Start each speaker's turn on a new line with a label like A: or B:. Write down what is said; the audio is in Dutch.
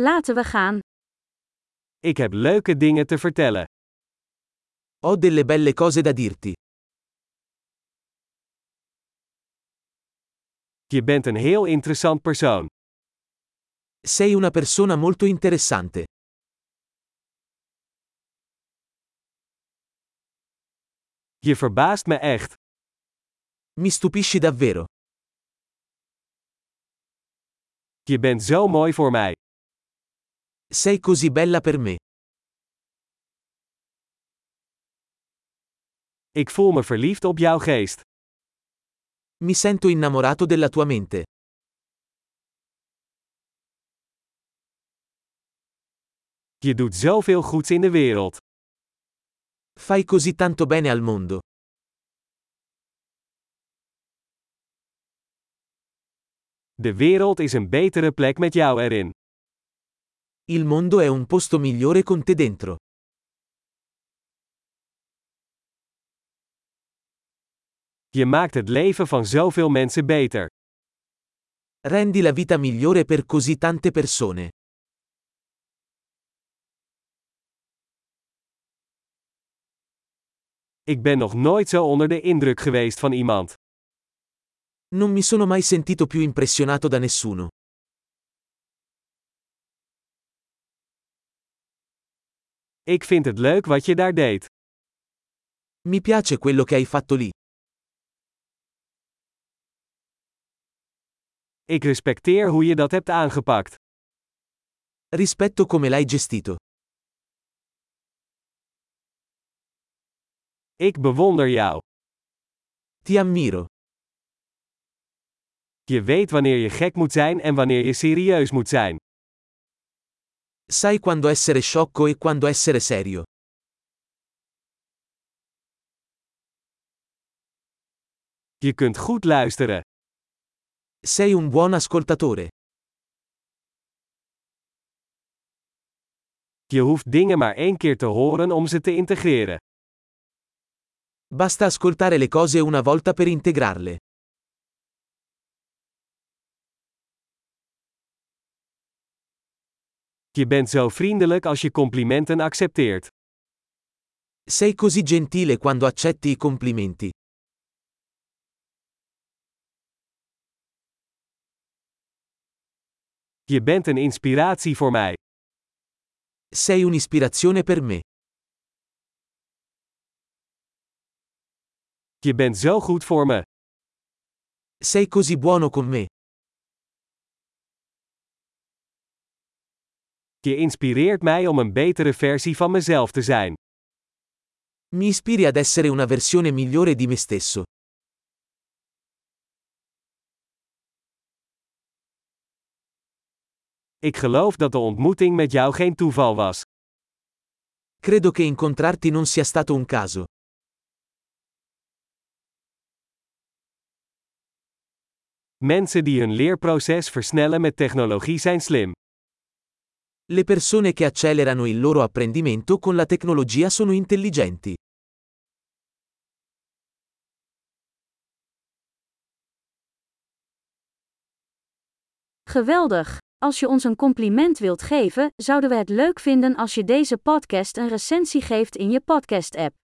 A: Laten we gaan.
B: Ik heb leuke dingen te vertellen.
C: Ho delle belle cose da dirti.
B: Je bent een heel interessant persoon.
C: Sei una persona molto interessante.
B: Je verbaast me echt.
C: Mi stupisci davvero.
B: Je bent zo mooi voor mij.
C: Sei così bella per me.
B: Ik voel me verliefd op jouw geest.
C: Mi sento innamorato della tua mente.
B: Je doet zoveel goeds in de wereld.
C: Fai così tanto bene al mondo.
B: De wereld is een betere plek met jou erin.
C: Il mondo è un posto migliore con te dentro.
B: Je maakt het leven van zoveel mensen beter.
C: Rendi la vita migliore per così tante persone.
B: Ik ben nog nooit zo onder de indruk geweest van iemand.
C: Non mi sono mai sentito più impressionato da nessuno.
B: Ik vind het leuk wat je daar deed.
C: Mi piace quello che hai fatto lì.
B: Ik respecteer hoe je dat hebt aangepakt.
C: Rispetto come l'hai gestito.
B: Ik bewonder jou.
C: Ti ammiro.
B: Je weet wanneer je gek moet zijn en wanneer je serieus moet zijn.
C: Sai quando essere sciocco e quando essere serio.
B: Je kunt goed luisteren.
C: Sei un buon ascoltatore.
B: Je hoeft dingen maar één keer te horen om ze te integreren.
C: Basta ascoltare le cose una volta per integrarle.
B: Je bent zo vriendelijk als je complimenten accepteert.
C: Sei così gentile quando accetti i complimenti.
B: Je bent een inspiratie voor mij.
C: Sei un'ispirazione per me.
B: Je bent zo goed voor me.
C: Sei così buono con me.
B: Je inspireert mij om een betere versie van mezelf te zijn.
C: Mi ispiri ad essere una versione migliore di me stesso.
B: Ik geloof dat de ontmoeting met jou geen toeval was.
C: Credo che incontrarti non sia stato un caso.
B: Mensen die hun leerproces versnellen met technologie zijn slim.
C: Le persone che accelerano il loro apprendimento con la tecnologia sono intelligenti.
A: Geweldig! Als je ons een compliment wilt geven, zouden we het leuk vinden als je deze podcast een recensie geeft in je podcast-app.